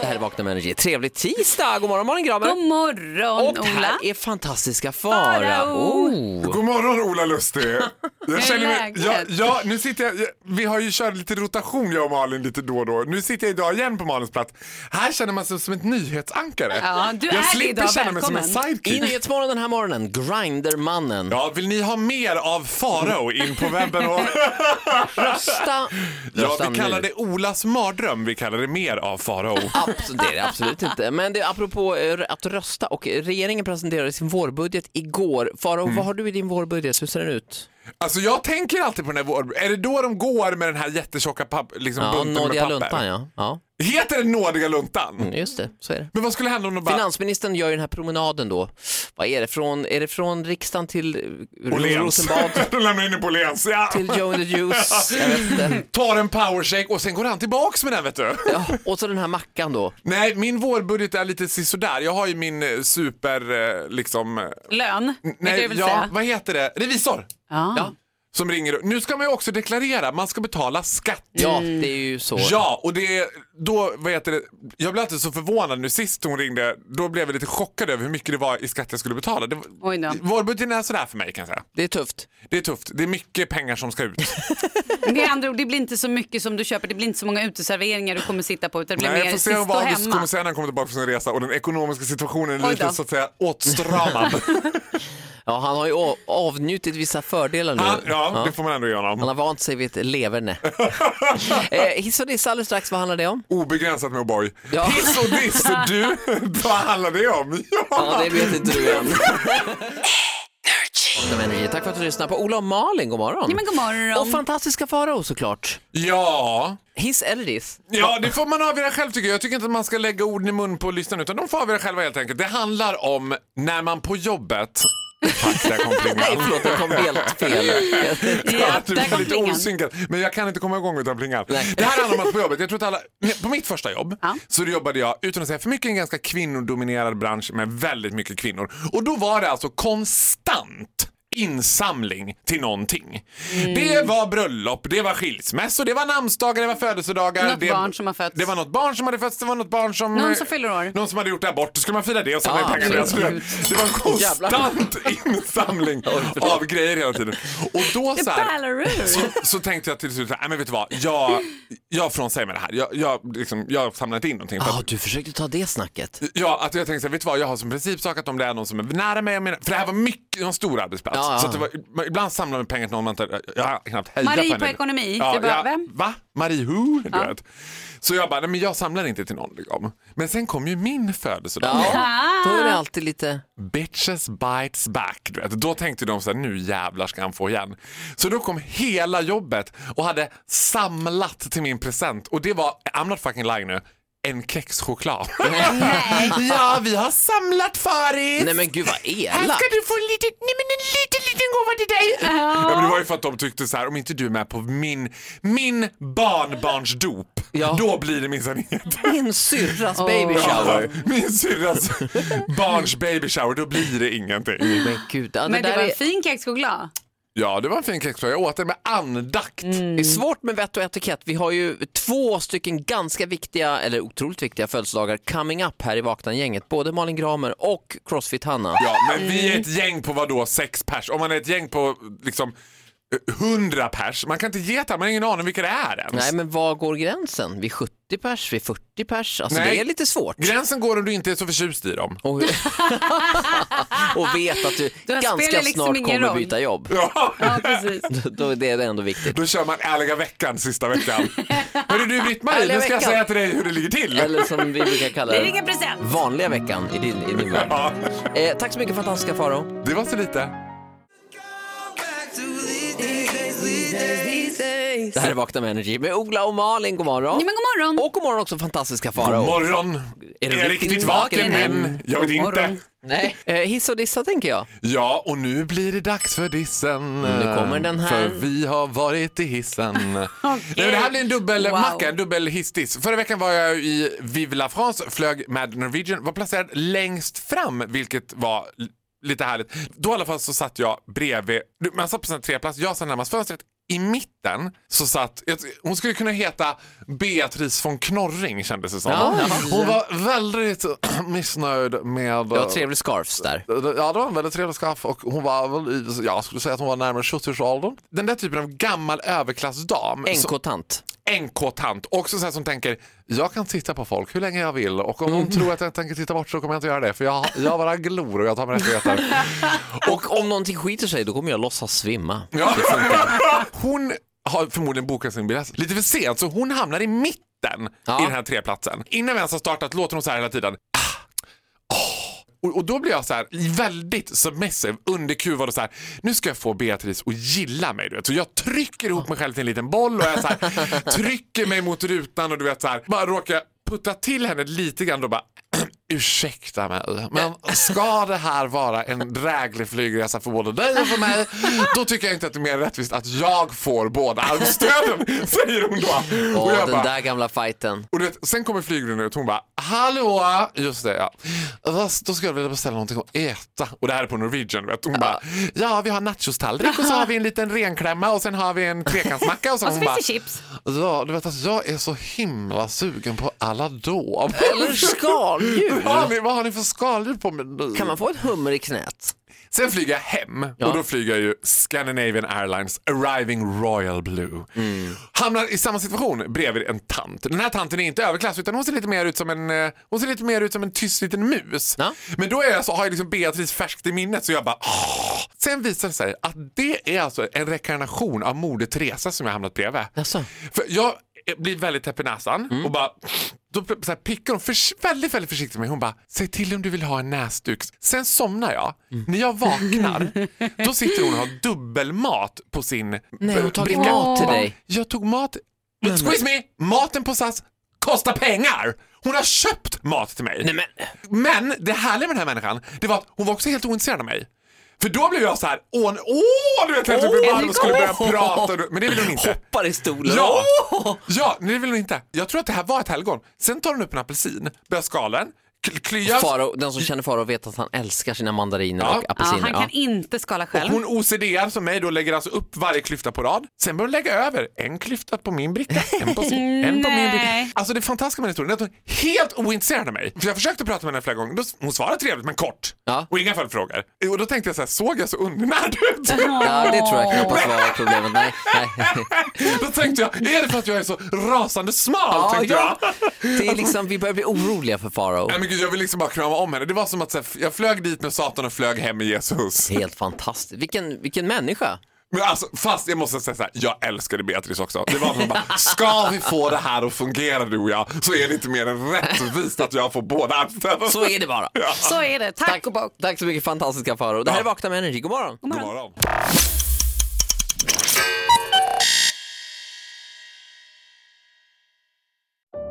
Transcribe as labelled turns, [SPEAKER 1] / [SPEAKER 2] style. [SPEAKER 1] Det här är Vakna med Energy. Trevlig tisdag! God morgon, morgon grabbar!
[SPEAKER 2] God morgon,
[SPEAKER 1] och
[SPEAKER 2] Ola.
[SPEAKER 1] här är fantastiska Farao. Oh.
[SPEAKER 3] God morgon Ola Lustig! Jag mig,
[SPEAKER 2] läget?
[SPEAKER 3] ja, ja, nu sitter jag, jag- vi har ju kört lite rotation jag och Malin lite då och då. Nu sitter jag idag igen på Malins plats. Här känner man sig som ett nyhetsankare.
[SPEAKER 2] Ja, du
[SPEAKER 3] jag
[SPEAKER 2] är det
[SPEAKER 3] slipper
[SPEAKER 2] idag.
[SPEAKER 3] känna mig som en
[SPEAKER 2] Välkommen.
[SPEAKER 1] I
[SPEAKER 3] sidekick.
[SPEAKER 1] Nyhetsmorgon den här morgonen, Grindermannen.
[SPEAKER 3] Ja, vill ni ha mer av Farao in på webben? Och...
[SPEAKER 1] Rösta!
[SPEAKER 3] Ja,
[SPEAKER 1] Rösta
[SPEAKER 3] vi kallar
[SPEAKER 1] nu.
[SPEAKER 3] det Olas mardröm, vi kallar det mer av Farao.
[SPEAKER 1] Abs- det är det absolut inte. Men det är apropå eh, att rösta och regeringen presenterade sin vårbudget igår. Farao,
[SPEAKER 3] Mm.
[SPEAKER 1] vad har du i din vårbudget? Hur ser den ut?
[SPEAKER 3] Alltså jag tänker alltid på den här vår... Är det då de går med den här jättetjocka papp... liksom,
[SPEAKER 1] Ja,
[SPEAKER 3] bunten med
[SPEAKER 1] nådiga
[SPEAKER 3] papper?
[SPEAKER 1] luntan ja. ja.
[SPEAKER 3] Heter den nådiga luntan?
[SPEAKER 1] Mm, Just det, så är det.
[SPEAKER 3] Men vad skulle hända om de bara...
[SPEAKER 1] Finansministern gör ju den här promenaden då. Vad är det? Från, är det från riksdagen till eh,
[SPEAKER 3] Åhléns.
[SPEAKER 1] Rosenbad?
[SPEAKER 3] de lämnar in den på Åhléns. Ja.
[SPEAKER 1] Till Joe and the Juice? Jag vet inte.
[SPEAKER 3] Tar en powershake och sen går han tillbaks med den vet du.
[SPEAKER 1] Ja, och så den här mackan då.
[SPEAKER 3] Nej, min vårbudget är lite sisådär. Jag har ju min eh, super, eh, liksom... eh,
[SPEAKER 2] Lön, vet du
[SPEAKER 3] Nej,
[SPEAKER 2] vill
[SPEAKER 3] ja,
[SPEAKER 2] säga?
[SPEAKER 3] vad heter det? Revisor
[SPEAKER 2] Ja.
[SPEAKER 1] Ja.
[SPEAKER 3] som ringer. Nu ska man ju också deklarera, man ska betala skatt.
[SPEAKER 1] Ja, det är ju så.
[SPEAKER 3] Ja, och det är då, vad heter det, jag blev alltid så förvånad nu sist hon ringde, då blev jag lite chockad över hur mycket det var i skatt jag skulle betala. Det, var-
[SPEAKER 2] Oj då.
[SPEAKER 3] vårbudgeten är sådär för mig kan jag säga.
[SPEAKER 1] Det är tufft.
[SPEAKER 3] Det är tufft, det är mycket pengar som ska ut.
[SPEAKER 2] Med andra ord, det blir inte så mycket som du köper, det blir inte så många uteserveringar du kommer sitta på utan det blir
[SPEAKER 3] Nej, jag
[SPEAKER 2] mer
[SPEAKER 3] får
[SPEAKER 2] sist
[SPEAKER 3] se
[SPEAKER 2] och
[SPEAKER 3] vad August
[SPEAKER 2] hemma.
[SPEAKER 3] kommer säga när han kommer tillbaka från sin resa och den ekonomiska situationen är
[SPEAKER 2] Oj
[SPEAKER 3] lite
[SPEAKER 2] då.
[SPEAKER 3] så att säga åtstramad.
[SPEAKER 1] Ja, han har ju å- avnjutit vissa fördelar nu.
[SPEAKER 3] Han, ja,
[SPEAKER 1] Ja.
[SPEAKER 3] det får man ändå ge
[SPEAKER 1] Han
[SPEAKER 3] honom.
[SPEAKER 1] har vant sig vid ett leverne. eh, hiss och diss alldeles strax, vad handlar det om?
[SPEAKER 3] Obegränsat med O'boy.
[SPEAKER 1] Ja.
[SPEAKER 3] Hiss och diss, du, vad handlar det om?
[SPEAKER 1] Ja, det vet inte du än. Vakna med energi. Tack för att du lyssnade på Ola och Malin, god morgon.
[SPEAKER 2] Ja, men god morgon.
[SPEAKER 1] Och fantastiska Farao såklart.
[SPEAKER 3] ja.
[SPEAKER 1] Hiss eller diss?
[SPEAKER 3] Ja, det får man avgöra själv tycker jag. Jag tycker inte att man ska lägga orden i mun på lyssnarna utan de får avgöra själva helt enkelt. Det handlar om när man på jobbet... Tack, där kom
[SPEAKER 1] Nej,
[SPEAKER 3] plingan.
[SPEAKER 1] förlåt, det kom helt fel.
[SPEAKER 3] Ja, typ
[SPEAKER 2] där kom
[SPEAKER 3] lite
[SPEAKER 2] plingan.
[SPEAKER 3] osynkat. Men jag kan inte komma igång utan plingan. Det här handlar om att på jobbet, jag tror att alla, nej, på mitt första jobb
[SPEAKER 2] Ja.
[SPEAKER 3] så jobbade jag, utan att säga för mycket, i en ganska kvinnodominerad bransch med väldigt mycket kvinnor. Och då var det alltså konstant insamling till någonting.
[SPEAKER 2] Mm.
[SPEAKER 3] Det var bröllop, det var skilsmässor, det var namnsdagar, det var födelsedagar.
[SPEAKER 2] Något
[SPEAKER 3] det,
[SPEAKER 2] barn som har fötts.
[SPEAKER 3] Det var något barn som hade fötts, det var något barn som...
[SPEAKER 2] Någon som fyller år.
[SPEAKER 3] Någon som hade gjort abort, då skulle man fira det och samla
[SPEAKER 1] Ja,
[SPEAKER 3] in pengar. till det.
[SPEAKER 1] absolut.
[SPEAKER 3] Alltså, Det var en konstant insamling av grejer hela tiden. Och då så här,
[SPEAKER 2] Ballarur.
[SPEAKER 3] så, så tänkte jag till slut, så här, nej men vet du vad, jag, jag frånsäger mig det här. Jag, jag, liksom, jag samlar inte in någonting. För
[SPEAKER 1] Ja,
[SPEAKER 3] att,
[SPEAKER 1] du försökte ta det snacket.
[SPEAKER 3] ja, att jag tänkte så här, vet du vad, jag har som principsak att om det är någon som är nära mig, jag menar, för det här var mycket, en stor arbetsplats.
[SPEAKER 1] Ja, ja.
[SPEAKER 3] Så att det var, man- ibland samlar man pengar till någon man inte, jag har knappt hejat
[SPEAKER 2] Marie
[SPEAKER 3] henne.
[SPEAKER 2] på ekonomi, du bara, vem?
[SPEAKER 3] Va? Marie who? Du vet. Så jag bara, nej men jag samlar inte till någon. Liksom. Men sen kom ju min födelsedag.
[SPEAKER 1] Ja, då är det alltid lite...
[SPEAKER 3] Bitches bites back. Du vet. Då tänkte de så här, nu jävlar ska han få igen. Så då kom hela jobbet och hade samlat till min present och det var, I'm not fucking lying nu, en kexchoklad. ja, vi har samlat Faris.
[SPEAKER 1] Nej men gud vad
[SPEAKER 3] Här
[SPEAKER 1] elakt.
[SPEAKER 3] ska du få en liten, nej men en liten, liten gåva till dig. Ja, men det var ju för att de tyckte så här, om inte du är med på min, min barnbarns dop,
[SPEAKER 1] Ja.
[SPEAKER 3] då blir det minsann inget.
[SPEAKER 1] Min syrras baby shower.
[SPEAKER 3] Min syrras barns baby shower, då blir det ingenting.
[SPEAKER 1] Men gud, ja, det,
[SPEAKER 2] Men det
[SPEAKER 1] där
[SPEAKER 2] var en
[SPEAKER 1] är,
[SPEAKER 2] fin kexchoklad.
[SPEAKER 3] Ja, det var en fin kexchoklad. Jag åt den med andakt.
[SPEAKER 1] det är
[SPEAKER 2] Mm.
[SPEAKER 1] svårt med vett och etikett. Vi har ju två stycken ganska viktiga, eller otroligt viktiga födelsedagar coming up här i Vakna-gänget. Både Malin Gramer och Crossfit-Hanna.
[SPEAKER 3] Ja, men vi är ett gäng på vad då sex pers? Om man är ett gäng på liksom eh, hundra pers, man kan inte ge det här, man har ingen aning om vilka det är ens.
[SPEAKER 1] Nej men var går gränsen? Vid 70 pers? Vid 40 pers? Alltså
[SPEAKER 3] Nej.
[SPEAKER 1] det är lite svårt.
[SPEAKER 3] Gränsen går om du inte är så förtjust i dem.
[SPEAKER 1] Och, och vet att du
[SPEAKER 2] spelar
[SPEAKER 1] ganska
[SPEAKER 2] liksom
[SPEAKER 1] snart
[SPEAKER 2] ingen
[SPEAKER 1] kommer
[SPEAKER 2] roll.
[SPEAKER 1] byta jobb.
[SPEAKER 3] Ja.
[SPEAKER 2] Ja, precis.
[SPEAKER 1] Då är det ändå viktigt.
[SPEAKER 3] Då kör man ärliga veckan sista veckan. Hörru du Britt-Marie,
[SPEAKER 1] Ärliga
[SPEAKER 3] nu ska jag
[SPEAKER 1] veckan.
[SPEAKER 3] säga till dig hur det ligger till.
[SPEAKER 1] Eller som vi brukar kalla
[SPEAKER 2] Det
[SPEAKER 1] det.
[SPEAKER 2] är ingen present.
[SPEAKER 1] Vanliga veckan i din, i din värld.
[SPEAKER 3] Ja,
[SPEAKER 1] Eh, tack så mycket fantastiska Faro.
[SPEAKER 3] det var så lite.
[SPEAKER 1] Det här är Vakna med Energy med Ola och Malin. God morgon.
[SPEAKER 2] Ja, men god morgon.
[SPEAKER 1] Och god morgon också fantastiska Faro.
[SPEAKER 3] God morgon. Är
[SPEAKER 1] du
[SPEAKER 3] jag
[SPEAKER 1] riktigt
[SPEAKER 3] riktigt vaken
[SPEAKER 1] vaken
[SPEAKER 3] men jag vet
[SPEAKER 2] God
[SPEAKER 3] inte.
[SPEAKER 2] morgon.
[SPEAKER 1] Nej. Eh, hiss och dissa tänker jag.
[SPEAKER 3] Ja, och nu blir det dags för dissen.
[SPEAKER 1] Nu kommer den här.
[SPEAKER 3] För vi har varit i hissen. Nej, men det här blir en dubbelmacka, en dubbel hissdiss. Förra veckan var jag i Vive la France, flög med Norwegian, var placerad längst fram, vilket var l- lite härligt. Då i alla fall så satt jag bredvid, du, man satt på sin treplats, jag satt närmast fönstret. I mitten så satt, jag- hon skulle kunna heta Beatrice von Knorring kändes det som.
[SPEAKER 1] Ja.
[SPEAKER 3] Hon var väldigt missnöjd med...
[SPEAKER 1] Du har trevlig scarfs där.
[SPEAKER 3] Ja, det var en väldigt trevlig skaff och hon var väl i, jag skulle säga att hon var närmare 70-årsåldern. Den där typen av gammal överklassdam. så-
[SPEAKER 1] NK-tant.
[SPEAKER 3] NK-tant. Också så här som tänker, jag kan titta på folk hur länge jag vill och om de tror att jag tänker titta bort så kommer jag inte göra det för jag, jag bara glor och jag tar mig rättigheter.
[SPEAKER 1] Och om någonting skiter sig då kommer jag låtsas svimma.
[SPEAKER 3] Ja. Hon har förmodligen bokat sin biljett lite för sent så hon hamnar i mitten
[SPEAKER 1] Ja.
[SPEAKER 3] i den här treplatsen. Innan vi ens har startat låter hon så här hela tiden. Ah, åh. Och, och då blir jag så här väldigt submissive, underkuvad och så här. Nu ska jag få Beatrice att gilla mig. Du vet. Så jag trycker ihop mig själv till en liten boll och jag så här, trycker mig mot rutan och du vet så här. Bara råkar putta till henne lite grann och bara Ursäkta mig, men ska det här vara en dräglig flygresa för både dig och för mig, då tycker jag inte att det är mer rättvist att jag får båda armstöden, säger hon då.
[SPEAKER 1] Åh,
[SPEAKER 3] och jag
[SPEAKER 1] den där gamla fighten.
[SPEAKER 3] och du vet, sen kommer flygvärdinnan ut och hon bara “Hallå!” Just det, ja. "Vad- Då skulle jag vilja beställa någonting att äta. Och det här är på Norwegian. Vet. du. Hon bara “Ja, vi har nachostallrik och så har vi en liten renklämma och sen har vi en trekantsmacka” och så,
[SPEAKER 2] Och så
[SPEAKER 3] hon bara,
[SPEAKER 2] finns det chips.
[SPEAKER 3] Ja, du vet att jag är så himla sugen på alla då.
[SPEAKER 1] Eller skaldjur.
[SPEAKER 3] Vad har, ni, vad har ni för skaldjur på menyn?
[SPEAKER 1] Kan man få ett hummer i knät?
[SPEAKER 3] Sen flyger jag hem och då flyger jag ju Scandinavian Airlines Arriving Royal Blue. Hamnar i samma situation bredvid en tant. Den här tanten är inte överklass utan hon ser lite mer ut som en, eh, hon ser lite mer ut som en tyst liten mus.
[SPEAKER 1] Ja.
[SPEAKER 3] Men då är jag så, har jag liksom Beatrice färskt i minnet så jag bara "Åh." Sen visar det sig att det är alltså en rekarnation av Moder Teresa som jag hamnat bredvid.
[SPEAKER 1] Jaså? Mm.
[SPEAKER 3] För jag blir väldigt täpp i näsan och bara då så här pickar hon förs- väldigt, väldigt försiktigt med mig. Hon bara, säg till om du vill ha en näsduk. Sen somnar jag.
[SPEAKER 1] Mm.
[SPEAKER 3] När jag vaknar, då sitter hon och har dubbelmat på sin
[SPEAKER 1] Nej, hon har tagit
[SPEAKER 3] bricka.
[SPEAKER 1] mat till
[SPEAKER 3] Hon bara,
[SPEAKER 1] dig.
[SPEAKER 3] Jag tog mat. Squeeze me! Maten på SAS kostar pengar! Hon har köpt mat till mig.
[SPEAKER 1] Nej men,
[SPEAKER 3] Men det härliga med den här människan, det var att hon var också helt ointresserad av mig. För då blev jag så här, åh, åh, du vet, helt uppe i
[SPEAKER 1] Åh,
[SPEAKER 3] varv och skulle börja
[SPEAKER 1] åh.
[SPEAKER 3] prata. Men det vill hon inte.
[SPEAKER 1] hoppar i stolen.
[SPEAKER 3] Ja! ja, nej det vill hon inte. Jag tror att det här var ett helgon. Sen tar hon upp en apelsin, börjar skala den, kl- kliar.
[SPEAKER 1] Faro, den som känner Faro vet att han älskar sina mandariner
[SPEAKER 3] Ja.
[SPEAKER 1] och
[SPEAKER 2] Ja,
[SPEAKER 1] apelsiner.
[SPEAKER 2] han kan inte skala själv.
[SPEAKER 3] Hon OCDar som mig då lägger alltså upp varje klyfta på rad. Sen börjar hon lägga över en klyfta på min bricka, en på sin, en på min bricka.
[SPEAKER 2] Nej.
[SPEAKER 3] Alltså det fantastiska med den historien är att hon är helt ointresserad av mig. För jag försökte prata med henne flera gånger, Då- hon svarade trevligt men kort.
[SPEAKER 1] Ja.
[SPEAKER 3] Och inga följdfrågor. Och då tänkte jag så här, såg jag så undernärd ut?
[SPEAKER 1] Ja, det tror jag knappast var problemet. Nej, nej.
[SPEAKER 3] då tänkte jag, är det för att jag är så rasande smal? tänkte jag.
[SPEAKER 1] Det är liksom, vi börjar bli oroliga för Faro.
[SPEAKER 3] Nej, men gud, jag vill liksom bara krama om henne. Det var som att så här, jag flög dit med Satan och flög hem med Jesus.
[SPEAKER 1] Helt fantastiskt. Vilken, vilken människa.
[SPEAKER 3] Men alltså, fast jag måste säga så här, jag älskade Beatrice också. Det var som bara, ska vi få det här att fungera du och jag så är det inte mer än rättvist att jag får båda armstöden.
[SPEAKER 1] Så är det bara.
[SPEAKER 2] Så är det. Tack och bock.
[SPEAKER 1] Tack så mycket fantastiska Faro. Det här är
[SPEAKER 3] Ja.
[SPEAKER 1] Vakna med Energy. God morgon.
[SPEAKER 3] God morgon.